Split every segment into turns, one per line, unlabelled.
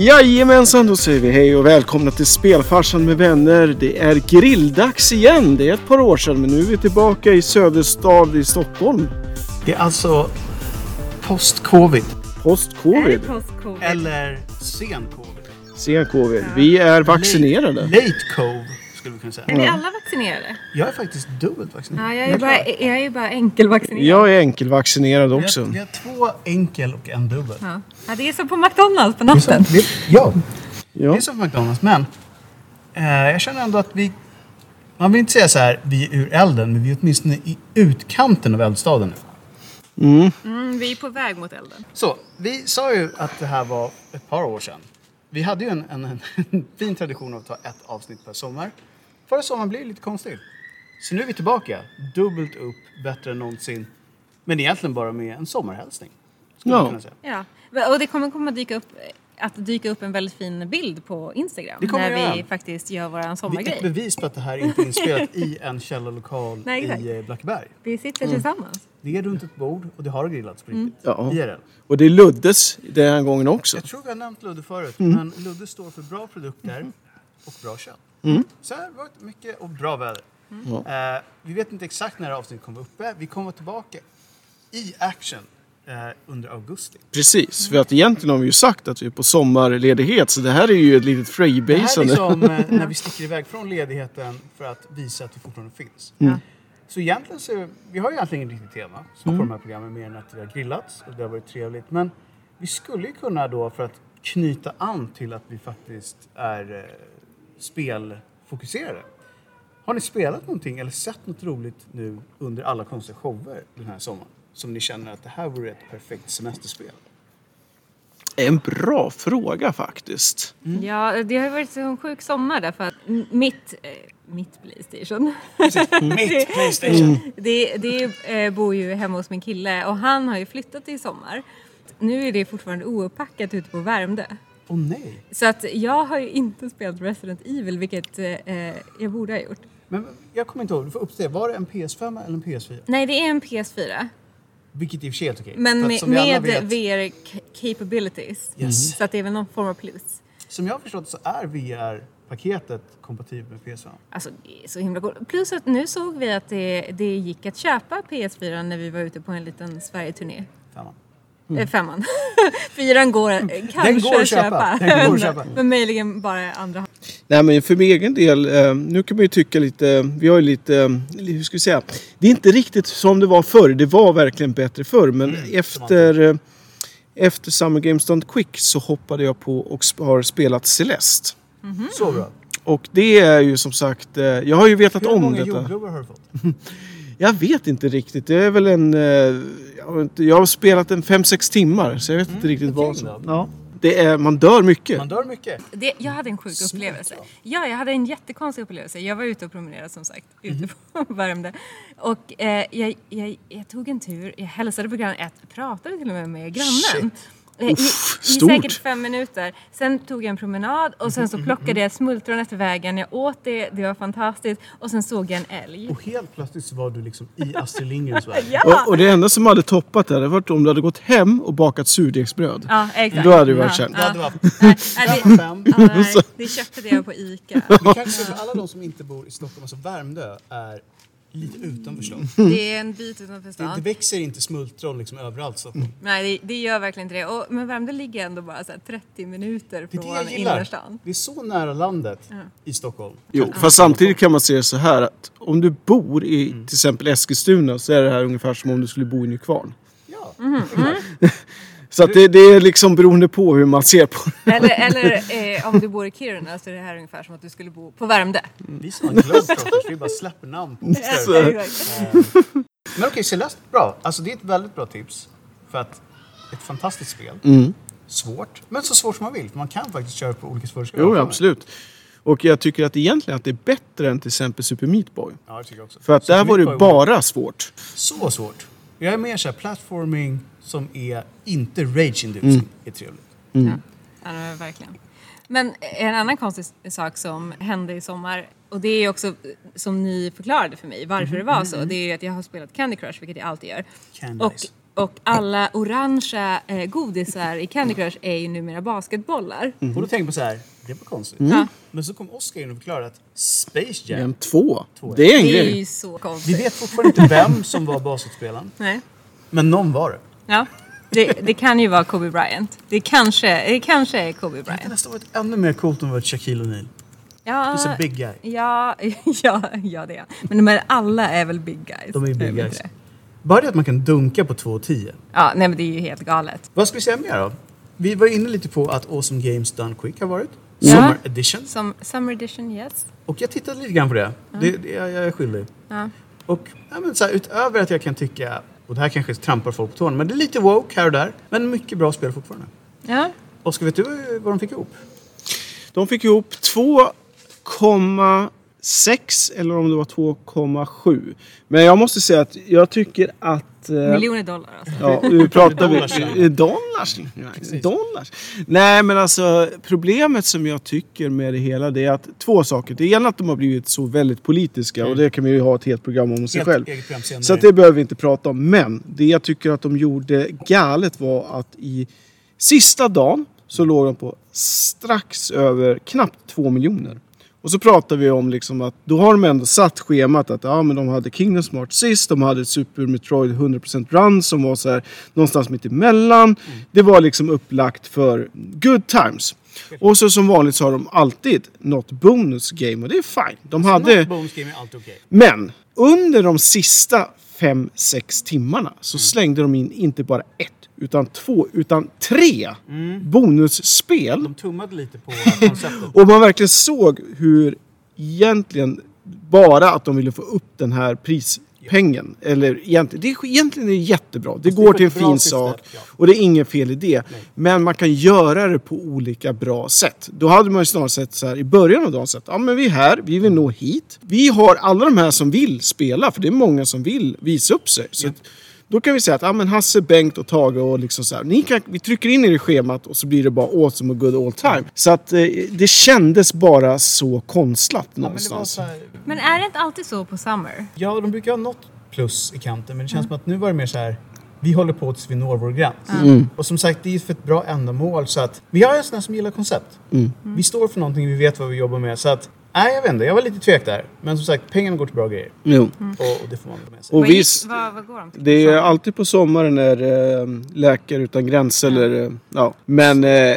Jajamensan, då säger vi hej och välkomna till Spelfarsan med vänner. Det är grilldags igen. Det är ett par år sedan, men nu är vi tillbaka i Söderstad i Stockholm.
Det är alltså post-covid
Är det
Post-covid,
post-covid?
eller sen-covid.
sen covid. Vi är vaccinerade.
Late covid skulle vi kunna
Är
säga.
ni alla vaccinerade?
Jag är faktiskt dubbelt vaccinerad.
Ja, jag är bara, jag är bara enkelvaccinerad.
Jag är enkelvaccinerad
Vi
också.
har, vi har två enkel och en dubbel.
Ja. Ja, det är som på McDonalds på
Det är så-
natten.
det- Ja, det
Ja.
är som för McDonalds. Men eh, jag känner ändå att vi... Man vill inte säga så här, vi är ur elden, men vi är åtminstone i utkanten av eldstaden nu.
Mm, vi är på väg mot elden.
Så, vi sa ju att det här var ett par år sedan. Vi hade ju en, en, en, fin tradition av att ta ett avsnitt per sommar. Förra sommaren blev det lite konstigt. Så nu är vi tillbaka, dubbelt upp, bättre än någonsin. Men egentligen bara med en sommarhälsning. Skulle
Ja.
man kunna säga.
Ja. Och det kommer komma dyka upp, att dyka upp en väldigt fin bild på Instagram
Det kommer
när
det
vi
göra.
faktiskt gör vår
Det är ett
sommargrej.
bevis på att det här inte är inspelat i en källarlokal
Nej, exakt.
i eh, Blackberg.
Vi sitter tillsammans.
Det är runt ett bord och det har grillats på
Mm.
riktigt.
Ja.
IRL.
Och det luddes den här gången också.
Jag tror vi har nämnt Ludde förut, men Ludde står för bra produkter och bra kött. Så här var det mycket och bra väder. Eh, vi vet inte exakt när det här avsnittet kommer uppe. Vi kommer tillbaka i action eh, under augusti.
Precis, för att egentligen har vi ju sagt att vi är på sommarledighet så det här är ju ett litet
Det här är
freebasande.
liksom eh, när vi sticker iväg från ledigheten för att visa att vi fortfarande finns.
Mm.
Så egentligen så, vi har ju egentligen inget riktigt tema som på de här programmen mer än att vi har grillats och det har varit trevligt. Men vi skulle ju kunna då för att knyta an till att vi faktiskt är eh, spelfokuserade. Har ni spelat någonting eller sett något roligt nu under alla konstiga shower den här sommaren? Som ni känner att det här vore ett perfekt semesterspel?
En bra fråga faktiskt.
Ja, det har ju varit en sjuk sommar därför att m- mitt, eh, mitt Playstation,
Mitt Playstation!
det, det eh, bor ju hemma hos min kille och han har ju flyttat i sommar. Nu är det fortfarande ouppackat ute på Värmdö.
Åh nej!
Så att jag har ju inte spelat Resident Evil, vilket eh, jag borde ha gjort.
Men jag kommer inte ihåg, du får uppdatera. Var det en PS5 eller en PS4?
Nej, det är en PS4.
Vilket i och för sig är helt okej.
Men
För att
med,
som vi alla
med
vet,
VR ca- capabilities.
Yes.
Så att det är väl någon form av plus.
Som jag har förstått så är VR-paketet kompatibelt med PS5.
Alltså det är så himla coolt. Plus att nu såg vi att det, det gick att köpa PS4 när vi var ute på en liten Sverige-turné.
Femman.
Eh, femman. Fyran går eh, kanske
Mm. går att köpa. Den går att köpa.
Men möjligen bara andra hand.
Nej men för min egen del, eh, nu kan man ju tycka lite, vi har ju lite, eh, hur ska vi säga, det är inte riktigt som det var förr, det var verkligen bättre förr men
Mm,
efter, eh, efter Summer Games Done Quick så hoppade jag på och sp- har spelat Celeste.
Mhm.
Så bra.
Och det är ju som sagt, eh, jag har ju vetat
Hur
om
många
detta.
jordgubbar har du fått?
Jag vet inte riktigt, det är väl en, eh, jag har inte- jag har spelat en 5-6 timmar så jag vet inte riktigt vad som... Ja. Det är, man dör mycket.
Mm, Man dör mycket.
Det, jag hade en sjuk upplevelse. Ja, jag hade en jättekonstig upplevelse. Jag var ute och promenerade som sagt, ute på Värmdö. Och eh, jag, jag, jag tog en tur, jag hälsade på grann ett, pratade till och med med grannen.
Shit.
Eh, I, I
stort.
säkert fem minuter. Sen tog jag en promenad och sen så plockade jag smultron efter vägen. Jag åt det, det var fantastiskt. Och sen såg jag en älg.
Och helt plötsligt så var du liksom i Astrid Lindgrens värld.
Ja!
Och, och det enda som hade toppat det hade varit om du hade gått hem och bakat surdegsbröd.
Ja, exakt.
Då hade det varit känt.
Då hade det varit
Nej, nej,
fem av
det,
fem.
ja, nej, det köpte jag på Ica.
Vi kanske för alla de som inte bor i Stockholm, alltså Värmdö, är lite utanför stan.
Det är en bit utanför
Det, det
stan.
växer inte smultron liksom överallt i
Mm.
Stockholm.
Nej, det, det gör verkligen inte det. Och, men Värmdö ligger ändå bara så här 30 minuter
Det är det
från
jag gillar.
innerstan.
Det är så nära landet i Stockholm.
Jo, fast samtidigt kan man se det så här att om du bor i till exempel Eskilstuna så är det här ungefär som om du skulle bo i Nykvarn.
Ja.
Mhm.
Så att det, det är liksom beroende på hur man ser på det.
Eller, eller eh, om du bor i Kiruna så är det här ungefär som att du skulle bo på Värmdö.
Vi som har globetrotters, vi bara släpper namn på
Exakt.
Men okej, Celeste, bra. Alltså det är ett väldigt bra tips. För att ett fantastiskt spel.
Mm.
Svårt, men så svårt som man vill. För man kan faktiskt köra på olika svårighetsgrader.
Jo, absolut. Och jag tycker att egentligen att det är bättre än till exempel Super Meat Boy.
Ja, det tycker jag också.
För att
Så
där var
mitt
det bara svårt.
Så svårt. Jag är mer såhär platforming som är inte rage-inducing.
Mm.
är trevligt.
Ja, det var det verkligen. Men en annan konstig s- sak som hände i sommar och det är också eh, som ni förklarade för mig varför det var så. Det är ju att jag har spelat Candy Crush, vilket jag alltid gör.
Candy
och
Nice.
Och alla orangea eh, godisar i Candy Crush är ju numera basketbollar.
Och då tänker man så här, det var konstigt.
Mm.
Ja,
Men så kom Oscar in och förklarade att Space Jam,
En två. Det är en
det är
grej.
ju så
vi
konstigt.
vet fortfarande inte vem som var basketspelaren,
Nej.
men någon var det.
Ja. Det, det kan ju vara Kobe Bryant. Det kanske, det kanske är
Det
Kobe
hade
Bryant.
nästan varit ännu mer coolt om det var Shaquille O'Neal.
Ja,
He's a big guy.
ja, ja, ja, det är Men de här alla är väl big guys?
De är ju
det
big
väl
guys.
det?
Bara det att man kan dunka på 2,10.
Ja, nej men det är ju helt galet.
Vad ska vi säga mer då? Vi var inne lite på att Awesome Games Done Quick har varit.
Ja.
Summer Edition.
Som Summer Edition, yes.
Och jag tittade lite grann på det. det, det jag, jag är skyldig.
Ja.
Och ja, men så här, utöver att jag kan tycka, och det här kanske trampar folk på tårna, men det är lite woke här och där. Men mycket bra spel fortfarande.
Ja,
Oskar, vet du vad de fick ihop?
De fick ihop 2,6 eller om det var 2,7. Men jag måste säga att jag tycker att... eh,
miljoner dollar alltså.
Ja, nu pratar
Dollars, ja.
vi... eh, Dollars? Nej, Dollars? Nej, men alltså problemet som jag tycker med det hela det är att två saker. Det ena är att de har blivit så väldigt politiska och det kan vi ju ha ett helt program om sig
Mm. Helt
själv.
eget program senare.
Så att det behöver vi inte prata om. Men det jag tycker att de gjorde galet var att i sista dagen så låg de på strax över knappt två miljoner. Och så pratar vi om liksom att då har de ändå satt schemat att ja, men de hade Kingdom Smart sist, de hade ett Super Metroid 100% run som var så här någonstans mitt emellan. Det var liksom upplagt för good times. Och så som vanligt så har de alltid något bonus game och det är fine. De hade...
Något bonus game är alltid okej.
Men under de sista 5-6 timmarna
Mm.
så slängde de in inte bara ett, utan två, utan tre
Mm.
bonusspel.
De tummade lite på konceptet.
Och man verkligen såg hur egentligen bara att de ville få upp den här prispengen. Eller egentligen, det är, egentligen är det jättebra. Det
det
går
är
till en
ett bra
fin
syfte,
sak
ja.
och det är inget fel i det. Men man kan göra det på olika bra sätt. Då hade man ju snarare sett så här i början av dagen sett, ja men vi är här, vi vill nå hit. Vi har alla de här som vill spela, för det är många som vill visa upp sig. Så att, då kan vi säga att ja, men Hasse, Bengt och Tage och liksom så här, ni kan, vi trycker in er i schemat och så blir det bara awesome och good all time. Så att eh, det kändes bara så konstlat
Ja, men det var
någonstans.
så här,
Men är det inte alltid så på Summer?
ja, de brukar ha något plus i kanten, men det känns
Mm.
som att nu var det mer så här. Vi håller på tills vi når vår gräns.
Mm.
Och som sagt, det är för ett bra ändamål. Så att vi har en sån här som gillar koncept.
Mm.
Vi står för någonting, vi vet vad vi jobbar med. Så att, nej jag vet inte, jag var lite tvek där. Men som sagt, pengarna går till bra grejer.
Jo.
Och, och det får man ta med sig.
Mm. Och
vad, gick-
visst,
vad, vad går de till?
det är
Summer?
alltid på sommaren när eh, Läkare Utan Gränser eller eh, ja. Men eh,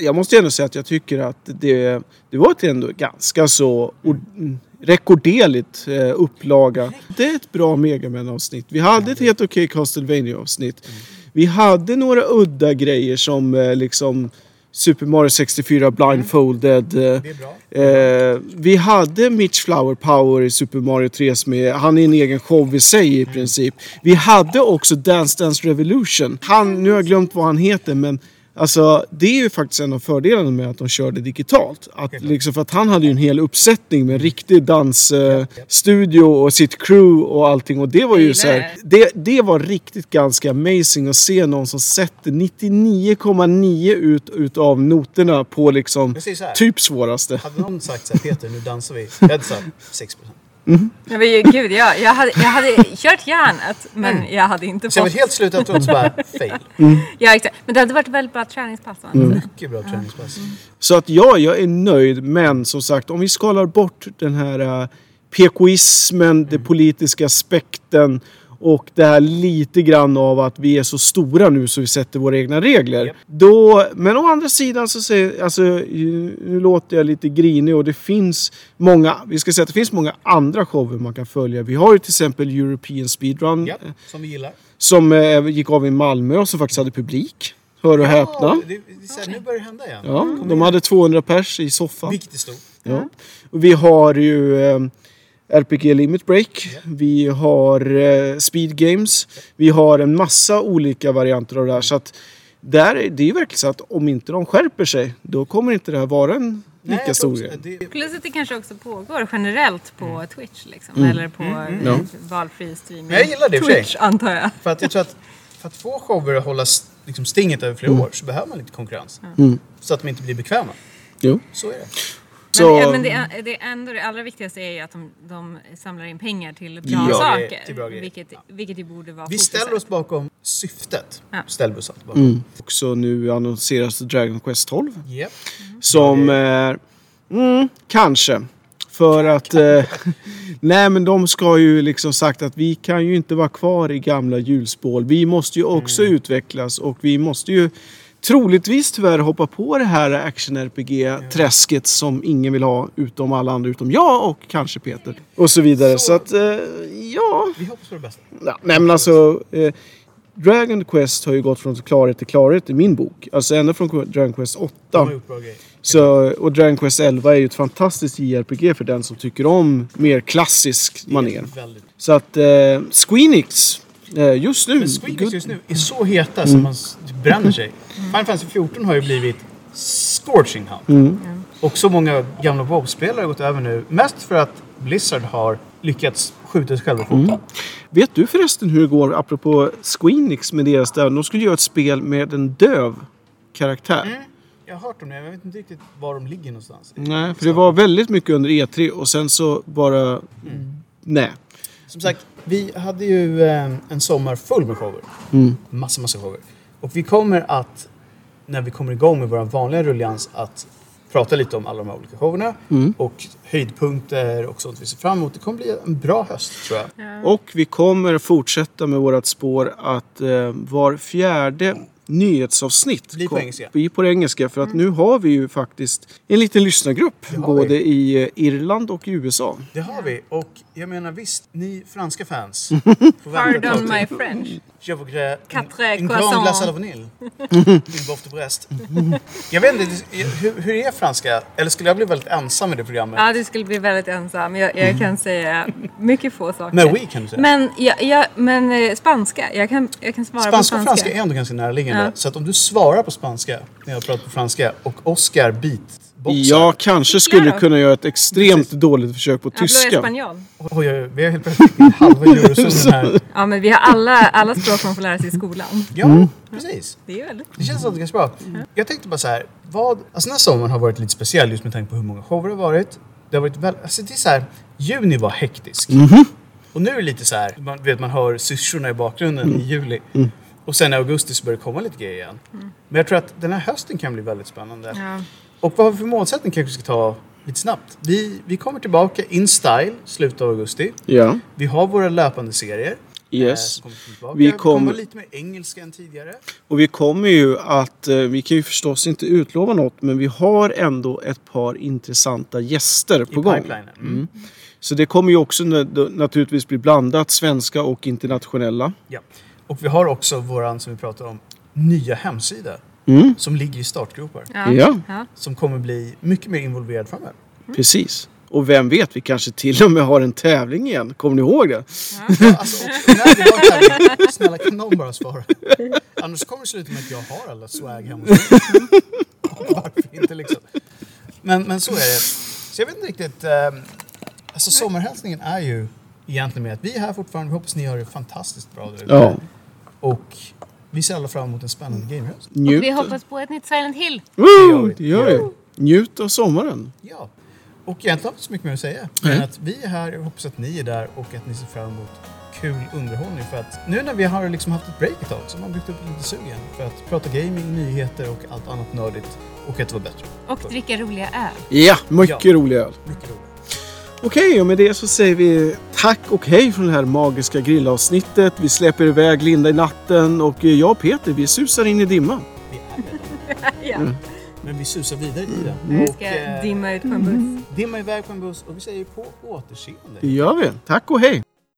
jag måste ändå säga att jag tycker att det, det var ett ändå ganska så or- rekorderligt eh, upplaga. Det är ett bra Megaman-avsnitt. Vi hade ett helt okej Castlevania-avsnitt. Vi hade några udda grejer som eh, liksom Super Mario 64 blindfolded. eh,
Det är bra.
Eh, vi hade Mitch Flower Power i Super Mario 3 som är, han är en egen show i sig i princip. Vi hade också Dance Dance Revolution. Han, nu har jag glömt vad han heter men Alltså det är ju faktiskt en av fördelarna med att de körde digitalt. Att, liksom, för att han hade ju en hel uppsättning med en riktig dansstudio eh, studio och sitt crew och allting. Och det var ju
Jag
så
gillar
här, det, det var riktigt ganska amazing att se någon som sätter 99,9 ut utav noterna på liksom
Jag säger så här.
typ svåraste.
Hade någon sagt så här, Peter nu dansar vi. Jag hade sagt 6%.
Nej, men gud, jag, jag, hade, jag hade kört järnet men
Mm.
jag hade inte
Så jag var
fått...
helt slut efteråt så bara, fail.
Ja, exakt. Men det hade varit ett väldigt bra träningspass. Mm.
Mycket bra träningspass.
Så att ja, jag är nöjd. Men som sagt, om vi skalar bort den här eh, PKismen, den
Mm.
politiska aspekten och det här lite grann av att vi är så stora nu så vi sätter våra egna regler.
Japp.
Då, men å andra sidan så säger, alltså, ju- nu låter jag lite grinig och det finns många, vi ska säga att det finns många andra shower man kan följa. Vi har ju till exempel European Speedrun
Ja,
eh,
som vi gillar.
som eh, gick av i Malmö och som faktiskt hade publik. Hör och häpna.
Ja, det, det, är så här, nu börjar det hända igen.
Ja, de hade 200 pers i soffan.
Vilket är stort.
Ja. Och vi har ju eh, RPG Limit Break. Vi har eh, Speed Games. Vi har en massa olika varianter av det här. Så att där, är- det är ju verkligen så att om inte de skärper sig, då kommer inte det här vara en
Nej,
lika
jag tror
stor
också-
grej.
det-
Plus att det kanske också pågår generellt på
Mm.
Twitch liksom, eller på eh,
Ja.
valfri streaming.
Men mm, jag gillar det i och för sig.
Twitch antar jag.
För att jag tror att för att få shower att hålla s- liksom, stinget över flera år så behöver man lite konkurrens. Så att de inte blir bekväma.
Jo.
Så är det.
Så-
Men, men det, är- det, är ändå, det allra viktigaste är ju att de, de samlar in pengar till bra
Ja,
saker.
till bra grejer.
vilket, vilket ju borde vara
Vi
fokuset.
ställer oss bakom syftet.
Ja.
Ställer vi oss alltid bakom. Mm.
Och så nu annonseras Dragon Quest 12.
Yep.
Som är... Mm, kanske. För att... Eh, nej men de ska ju liksom sagt att vi kan ju inte vara kvar i gamla hjulspår. Vi måste ju också
Mm.
utvecklas och vi måste ju troligtvis tyvärr hoppa på det här action-RPG-träsket som ingen vill ha utom alla andra utom jag och kanske Peter. Och så vidare. Så, att, eh, ja...
Vi hoppas på det bästa.
Ja, nej men alltså... Eh, Dragon Quest har ju gått från klarhet till klarhet i min bok. Alltså ända från Dragon Quest 8.
De har gjort bra grejer.
Så, och Dragon Quest 11 är ju ett fantastiskt JRPG för den som tycker om mer klassisk manér.
Väldigt.
Så att eh, Squeenix eh, just nu...
Men Swedish just nu är så heta som man s- typ bränner sig. Final Fantasy 14 har ju blivit scorching hot. Och så många gamla WoW-spelare har gått över nu. Mest för att Blizzard har lyckats skjuta sig själva i foten.
Vet du förresten hur det går apropå Squeenix med deras där? De skulle göra ett spel med en döv karaktär.
Mm. Jag har hört om det, men jag vet inte riktigt var de ligger någonstans.
Nej, för det var väldigt mycket under E3 och sen så bara...
Mm.
Nej.
Som sagt, vi hade ju eh, en sommar full med shower. Massa, massa shower. Och vi kommer att, när vi kommer igång med vår vanliga rullians, att prata lite om alla de här olika showerna och höjdpunkter och sånt vi ser fram emot. Det kommer bli en bra höst, tror jag.
Och vi kommer fortsätta med vårt spår att eh, var fjärde nyhetsavsnitt
Blir på
kom-
engelska.
blir på engelska. För att nu har vi ju faktiskt en liten lyssnargrupp
har vi.
både i eh, Irland och i USA.
Det har vi. Och jag menar visst, ni franska fans. får vänta ett
Pardon
tag
my
till.
French.
Je voudrais
Quatre
une- une grande
croissants.
glace à la vanille. Une bof de Brest. Jag vet inte, hur, hur är franska? Eller skulle jag bli väldigt ensam i det programmet?
Ja, du skulle bli väldigt ensam. Jag, jag kan säga mycket få saker.
Mm. Men oui, kan du säga.
Men, jag- jag- men eh, spanska. Jag kan, jag kan svara
Spanska
på
och
spanska.
franska är ändå ganska närliggande.
Ja.
Så att om du svarar på spanska när jag pratar på franska och Oscar beatboxar.
Jag kanske skulle
Claro.
kunna göra ett extremt dåligt försök på
Tyska.
tyska.
Espanol.
Oj, oj, vi har helt plötsligt halva eurozonen här.
Ja, men vi har alla, alla språk man får lära sig i skolan.
Ja, precis.
Det är väldigt...
Det känns alltid ganska bra. Jag tänkte bara så här. Vad, alltså den här sommaren har varit lite speciell just med tanke på hur många shower det har varit. Det har varit väl, alltså det är så här, juni var hektisk. Och nu är det lite så här, man, vet, man hör syrsorna i bakgrunden i juli. Och sen i augusti så börjar det komma lite grejer igen.
Mm.
Men jag tror att den här hösten kan bli väldigt spännande.
Ja.
Och vad har vi för målsättning kanske vi ska ta lite snabbt? Vi, vi kommer tillbaka in style slutet av augusti.
Ja.
Vi har våra löpande serier.
Yes.
Eh, kommer tillbaka.
Vi
Vi kommer
kommer-
vara lite mer engelska än tidigare.
Och vi kommer ju att, eh, vi kan ju förstås inte utlova något, men vi har ändå ett par intressanta gäster på
I
gång.
pipelinen. Mm.
Så det kommer ju också nö- naturligtvis bli blandat, svenska och internationella.
Ja. Och vi har också våran, som vi pratade om, nya hemsida.
Mm.
Som ligger i startgropar.
Ja.
Ja.
ja.
Som kommer bli mycket mer involverad framöver.
Precis. Och vem vet, vi kanske till och med har en tävling igen. Kommer ni ihåg det?
Ja, Alltså, och när vi har tävling, snälla kan någon bara svara? Annars kommer det sluta med att jag har alla swag hemma hos mig. Varför inte liksom? Men, men så är det. Så jag vet inte riktigt. ehm, alltså sommarhälsningen är ju egentligen med att vi är här fortfarande. Vi hoppas ni har det fantastiskt bra där ute.
Ja.
Och vi ser alla fram emot en spännande gamehöst.
Njut.
Vi hoppas på ett nytt Silent Hill.
Woo!
vi.
Det gör vi. Njut av sommaren.
Ja. Och egentligen har vi inte så mycket mer att säga. Men att vi är här, jag hoppas att ni är där och att ni ser fram emot kul underhållning. För att nu när vi har liksom haft ett break ett tag så har man byggt upp lite sug igen. För att prata gaming, nyheter och allt annat nördigt. Och att vara bättre.
Och dricka roliga öl.
Ja, mycket
Ja.
rolig öl.
Mycket roligt.
Okej, och med det så säger vi tack och hej från det här magiska grillavsnittet. Vi släpper iväg Linda i natten och jag och Peter, vi susar in i dimman.
Vi är redan.
Ja.
Men vi susar vidare i den.
Vi
Och
ska
eh,
dimma ut på en buss.
dimma iväg på en buss och vi säger på återseende.
Det gör vi. Tack och hej!